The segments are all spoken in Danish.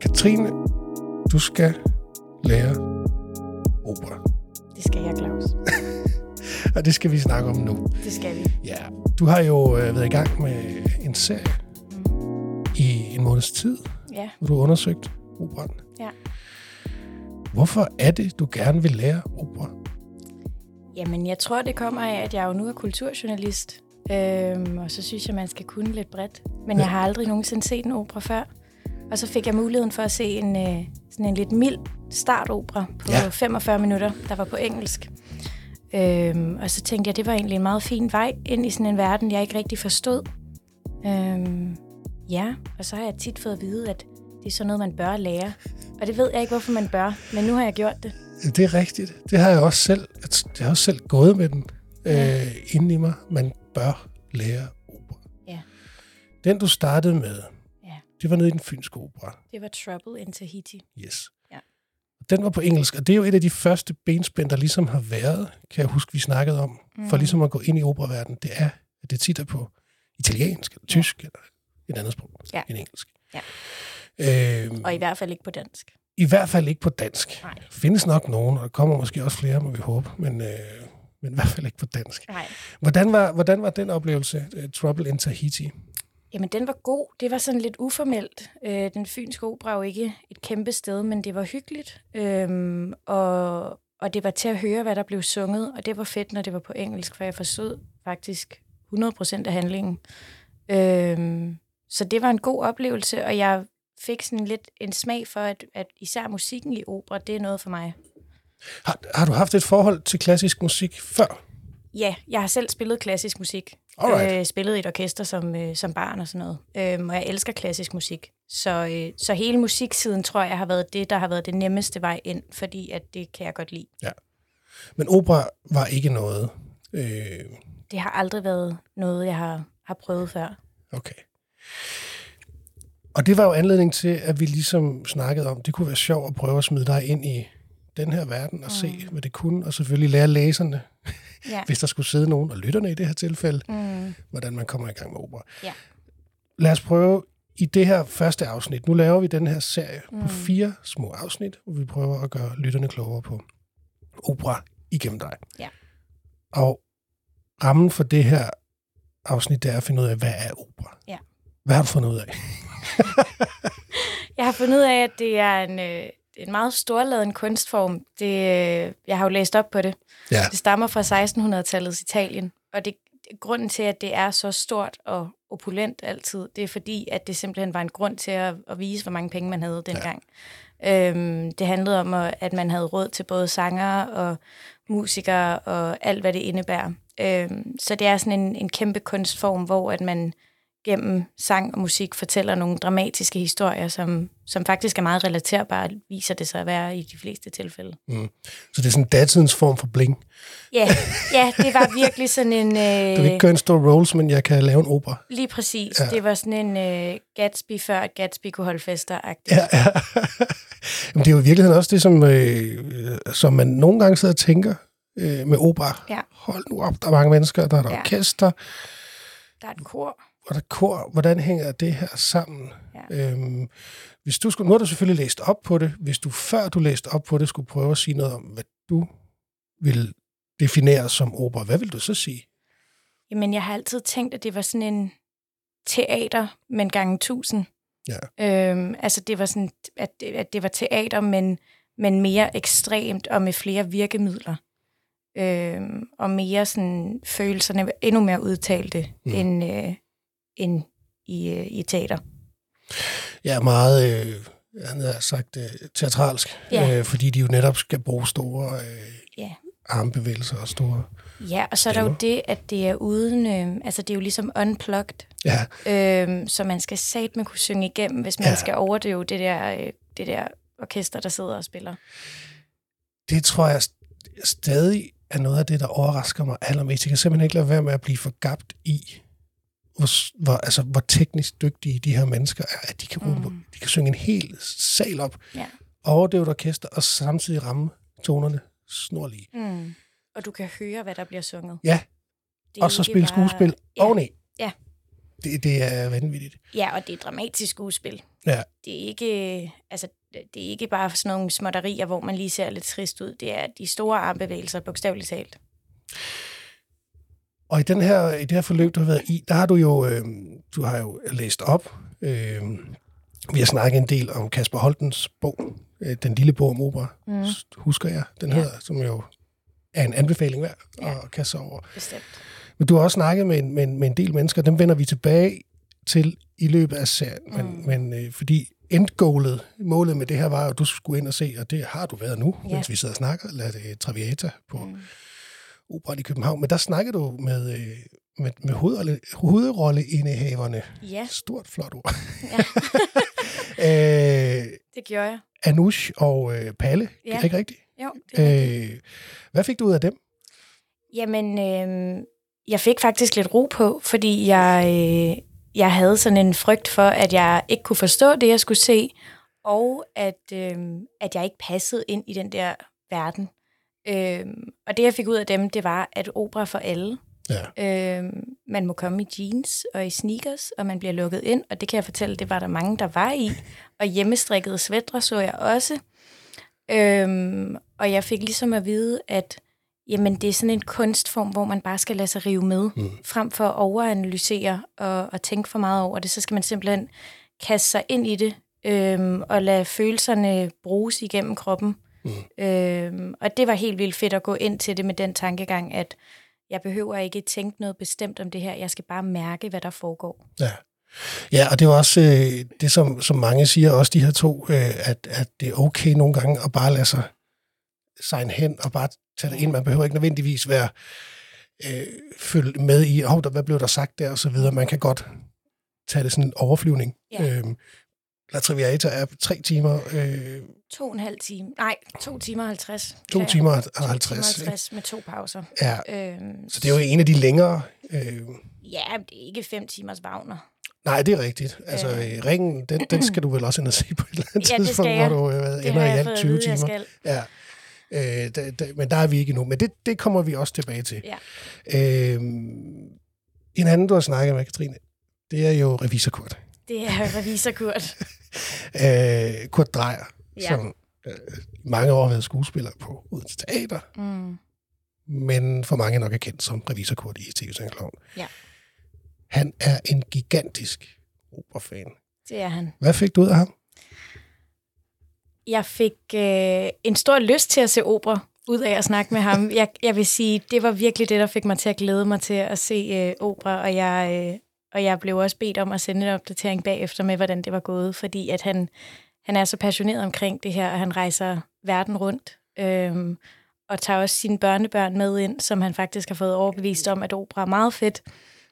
Katrine, du skal lære opera. Det skal jeg, Claus. Og det skal vi snakke om nu. Det skal vi. Ja, du har jo øh, været i gang med en serie i en måneds tid, Mm. Ja. hvor du har undersøgt operan. Ja. Hvorfor er det, du gerne vil lære opera? Jamen, jeg tror, det kommer af, at jeg jo nu er kulturjournalist. Øhm, og så synes jeg, man skal kunne lidt bredt. Men jeg har aldrig nogensinde set en opera før. Og så fik jeg muligheden for at se en, øh, sådan en lidt mild startopera på Ja. ja. 45 minutter, der var på engelsk. Øhm, og så tænkte jeg, det var egentlig en meget fin vej ind i sådan en verden, jeg ikke rigtig forstod. Øhm, ja, og så har jeg tit fået at vide, at det er sådan noget, man bør lære. Og det ved jeg ikke, hvorfor man bør, men nu har jeg gjort det. Det er rigtigt. Det har jeg også selv, jeg har også selv gået med den øh, inde i mig. Man bør lære opera. Ja. Den, du startede med, Ja. det var nede i den fynske opera. Det var Trouble in Tahiti. Yes. Ja. Den var på engelsk, og det er jo et af de første benspænd, der ligesom har været, kan jeg huske, vi snakkede om, mm. for ligesom at gå ind i operaverdenen. Det er, at det tit er på italiensk, eller tysk, ja. eller et andet sprog Ja. end engelsk. Ja. Øhm, Og i hvert fald ikke på dansk. I hvert fald ikke på dansk. Nej. Findes nok nogen, og der kommer måske også flere, må vi håbe, men, øh, men i hvert fald ikke på dansk. Nej. Hvordan var, hvordan var den oplevelse, øh, Trouble in Tahiti? Jamen, den var god. Det var sådan lidt uformelt. Øh, den fynske opera er jo ikke et kæmpe sted, men det var hyggeligt. Øhm, og, og det var til at høre, hvad der blev sunget, og det var fedt, når det var på engelsk, for jeg forstod faktisk 100% af handlingen. Øhm, så det var en god oplevelse, og jeg fik sådan lidt en smag for, at, at især musikken i opera, det er noget for mig. Har, har du haft et forhold til klassisk musik før? Ja, jeg har selv spillet klassisk musik. Alright. Øh, spillet i et orkester som, øh, som barn og sådan noget. Øhm, og jeg elsker klassisk musik. Så, øh, så hele musiksiden, tror jeg, har været det, der har været det nemmeste vej ind, fordi at det kan jeg godt lide. Men opera var ikke noget. Øh, Det har aldrig været noget, jeg har, har prøvet før. Okay. Og det var jo anledning til, at vi ligesom snakkede om, det kunne være sjovt at prøve at smide dig ind i den her verden og mm. se, hvad det kunne, og selvfølgelig lære læserne, Ja. hvis der skulle sidde nogen og lytterne i det her tilfælde, Mm, hvordan man kommer i gang med opera. Ja. Lad os prøve i det her første afsnit. Nu laver vi den her serie mm. på fire små afsnit, hvor vi prøver at gøre lytterne klogere på opera igennem dig. Ja. Og rammen for det her afsnit, det er at finde ud af, hvad er opera? Ja. Hvad har du fundet ud af? Jeg har fundet ud af, at det er en, øh, en meget storladen kunstform. Det, øh, jeg har jo læst op på det. Ja. Det stammer fra 1600-tallets Italien, og det, det- grunden til, at det er så stort og opulent altid, det er fordi, at det simpelthen var en grund til at, at vise, hvor mange penge man havde dengang. Ja. Øhm, det handlede om, at at man havde råd til både sanger og musikere og alt, hvad det indebærer. Øhm, så det er sådan en, en kæmpe kunstform, hvor at man gennem sang og musik fortæller nogle dramatiske historier, som, som faktisk er meget relaterbare, viser det sig at være i de fleste tilfælde. Så det er sådan datidens form for bling. Ja, ja det var virkelig sådan en... Du Øh. vil ikke gøre en stor rolls, men jeg kan lave en opera. Lige præcis. Ja. Det var sådan en øh, Gatsby før, at Gatsby kunne holde fester -agtigt. Ja, ja. Jamen, det er jo i virkeligheden også det, som, øh, øh, som man nogle gange sidder og tænker øh, med opera. Ja. Hold nu op, der er mange mennesker, der er et Ja. orkester, Der er et kor. og der er kor. Hvordan hænger det her sammen? Ja. Øhm, hvis du skulle, nu har du selvfølgelig læst op på det. Hvis du før du læste op på det, skulle prøve at sige noget om, hvad du vil definere som opera, hvad vil du så sige? Jamen, jeg har altid tænkt, at det var sådan en teater, men gange tusind. Ja. Øhm, altså, det var sådan, at det, at det var teater, men, men mere ekstremt og med flere virkemidler. Øhm, og mere sådan, følelserne var endnu mere udtalte Mm. mm. end, øh, end i, øh, i teater. Ja, meget, øh, han har sagt, øh, teatralsk. Ja. Øh, fordi de jo netop skal bruge store øh, Ja. armbevægelser og store... Ja, og så er der jo Stemmer. det, at det er uden... Øh, altså, det er jo ligesom unplugged. Ja, Øhm, så man skal sat med kunne synge igennem, hvis man Ja. ja. skal overdøve det der, øh, det der orkester, der sidder og spiller. det tror jeg st- stadig er noget af det, der overrasker mig allermest. Jeg kan simpelthen ikke lade være med at blive forgabt i, hvor, s- hvor, altså, hvor teknisk dygtige de her mennesker er, at de kan, bruge, mm. de kan synge en hel sal op, Ja. overdøve et orkester, og samtidig ramme tonerne snorlige. Mm. Og du kan høre, hvad der bliver sunget. Ja, Det er og så ikke spille bare- skuespil ja. oveni. Ja. Det, det er vanvittigt. ja, og det er dramatisk skuespil. Ja. Det er ikke, altså, det er ikke bare sådan nogle småtterier, hvor man lige ser lidt trist ud. Det er de store armbevægelser, bogstaveligt talt. Og i, den her, i det her forløb, du har været i, der har du jo, øh, du har jo læst op. Øh, vi har snakket en del om Kasper Holtens bog, øh, Den lille bog om opera, Mm. husker jeg, den Ja. hedder, som jo er en anbefaling værd Ja. at kaste sig over. Bestemt. Men du har også snakket med en, med en, med en del mennesker, dem vender vi tilbage til i løbet af serien, men, Mm. men øh, fordi endgoalet, målet med det her var, at du skulle ind og se, og det har du været nu, Ja. mens vi sidder og snakker, eller det er Traviata på mm. Mm. Operan i København, men der snakkede du med, øh, med, med hovedrolle, hovedrolleindehaverne. Ja, Stort flot ord. Ja. øh, det gjorde jeg. Anush og øh, Palle, ja. det Ja. er ikke rigtigt? Jo, det er rigtigt. Øh, hvad fik du ud af dem? Jamen, øh, jeg fik faktisk lidt ro på, fordi jeg, øh, jeg havde sådan en frygt for, at jeg ikke kunne forstå det, jeg skulle se, og at, øh, at jeg ikke passede ind i den der verden. Øh, og det, jeg fik ud af dem, det var, at opera for alle. Ja. Øh, man må komme i jeans og i sneakers, og man bliver lukket ind, og det kan jeg fortælle, det var der mange, der var i. Og hjemmestrikkede svætter så jeg også. Øhm, og jeg fik ligesom at vide, at jamen, det er sådan en kunstform, hvor man bare skal lade sig rive med, mm. frem for at overanalysere og, og tænke for meget over det. Så skal man simpelthen kaste sig ind i det, øhm, og lade følelserne bruges igennem kroppen. Mm. Øhm, og det var helt vildt fedt at gå ind til det med den tankegang, at jeg behøver ikke tænke noget bestemt om det her. Jeg skal bare mærke, hvad der foregår. Ja. Ja, og det er jo også øh, det, som, som mange siger, også de her to, øh, at, at det er okay nogle gange at bare lade sig sejne hen og bare tage det ind. Man behøver ikke nødvendigvis være øh, følge med i, oh, der, hvad blev der sagt der, og så videre. Man kan godt tage det sådan en overflyvning. Ja. Øhm, La Traviata er tre timer, øh, To og en halv time. Nej, to timer og 50. to Beklager. timer og 50, 50. ikke? 50 med to pauser. Ja, Øhm, så det er jo en af de længere... Øh, Ja, men det er ikke fem timers Wagner. Nej, det er rigtigt. Altså, Øh. øh. ringen, den, den skal du vel også ind og se på et eller andet Ja, det skal tidspunkt, jeg. hvor du øh, hvad, Det har ender i jeg alt fået 20 at vide, timer. jeg skal. Ja. Øh, da, da, men der er vi ikke endnu. Men det, det kommer vi også tilbage til. Ja. Øh, en anden, du har snakket med, Katrine, det er jo revisor Kurt. Det er revisor Kurt. Øh, Kurt Drejer, ja. Ja. som øh, i mange år har været skuespiller på Odense Teater, Mm. men for mange nok er kendt som revisor Kurt i tv Klovn. Ja. Han er en gigantisk operafan. Det er han. Hvad fik du ud af ham? Jeg fik øh, en stor lyst til at se opera ud af at snakke med ham. Jeg, jeg vil sige, det var virkelig det, der fik mig til at glæde mig til at se øh, opera, og jeg, øh, og jeg blev også bedt om at sende en opdatering bagefter med, hvordan det var gået, fordi at han, han er så passioneret omkring det her, og han rejser verden rundt, øh, og tager også sine børnebørn med ind, som han faktisk har fået overbevist om, at opera er meget fedt.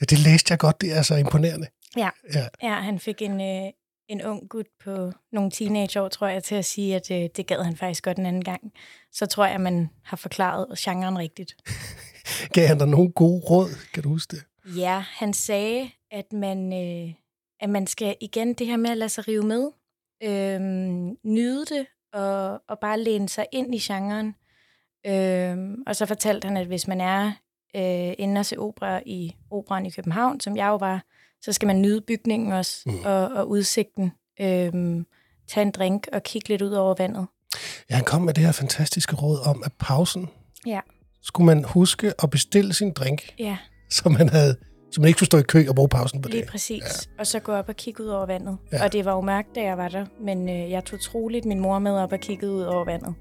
Ja, det læste jeg godt. Det er så imponerende. Ja. Ja. Ja, han fik en, øh, en ung gut på nogle teenageår, tror jeg, til at sige, at øh, det gad han faktisk godt en anden gang. Så tror jeg, man har forklaret genren rigtigt. Gav han dig nogle gode råd? Kan du huske det? Ja, han sagde, at man, øh, at man skal igen det her med at lade sig rive med, øh, nyde det og, og bare læne sig ind i genren. Øh, og så fortalte han, at hvis man er øh, inde og se opera i operan i København, som jeg jo var, så skal man nyde bygningen også Mm. mm. og, og udsigten. Øh, tage en drink og kigge lidt ud over vandet. Ja, han kom med det her fantastiske råd om, at pausen Ja. skulle man huske at bestille sin drink, Ja, så man, havde, så man ikke skulle stå i kø og bruge pausen på lige det. præcis. Ja. Og så gå op og kigge ud over vandet. Ja. Ja. Og det var jo mørkt, da jeg var der, men øh, jeg tog troligt min mor med op og kiggede ud over vandet.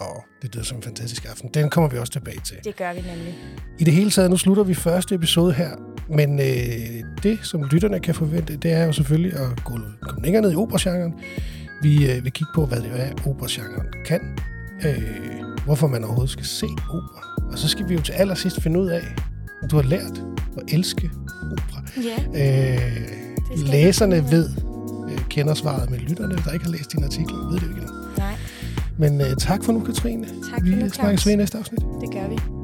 Åh, det lyder som en fantastisk aften. Den kommer vi også tilbage til. Det gør vi nemlig. I det hele taget, nu slutter vi første episode her, men øh, det, som lytterne kan forvente, det er jo selvfølgelig at gå, komme længere ned i operagenren. Vi øh, vil kigge på, hvad det er, operagenren kan, øh, hvorfor man overhovedet skal se opera, og så skal vi jo til allersidst finde ud af, om du har lært at elske opera. Ja, Øh, vi læserne finde ud af. ved, øh, kender svaret, men lytterne, der ikke har læst dine artikler, ved det jo ikke endnu. nej, Men øh, tak for nu, Katrine. Tak for vi nu, snakkes ved i Claus. næste afsnit. det gør vi.